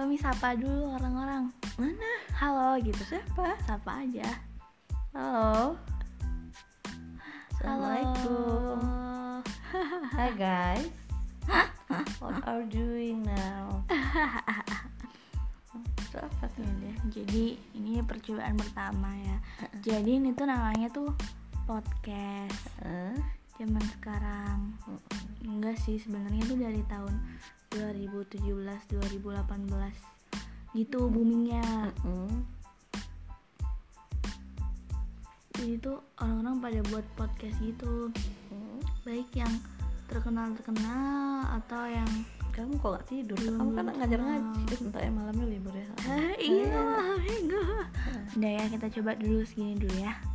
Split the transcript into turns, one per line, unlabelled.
kami sapa dulu orang-orang
Mana?
halo gitu
Siapa?
sapa aja halo
Assalamualaikum.
halo.
Hi guys. What are doing now? Itu apa tuh?
jadi ini percobaan pertama ya jadi ini tuh namanya tuh podcast
Eh,
zaman sekarang enggak sih sebenarnya tuh dari tahun 2017 2018 gitu boomingnya
mm,
jadi tuh orang-orang pada buat podcast gitu
mm.
baik yang terkenal terkenal atau yang
Kamu kok gak tidur?
Belum,
Kamu kan
belum
ngajar
kenal.
ngaji. Bentar ya malamnya libur ya.
Iya,
Mm.
Hah, iya minggu udah ya kita coba dulu segini dulu ya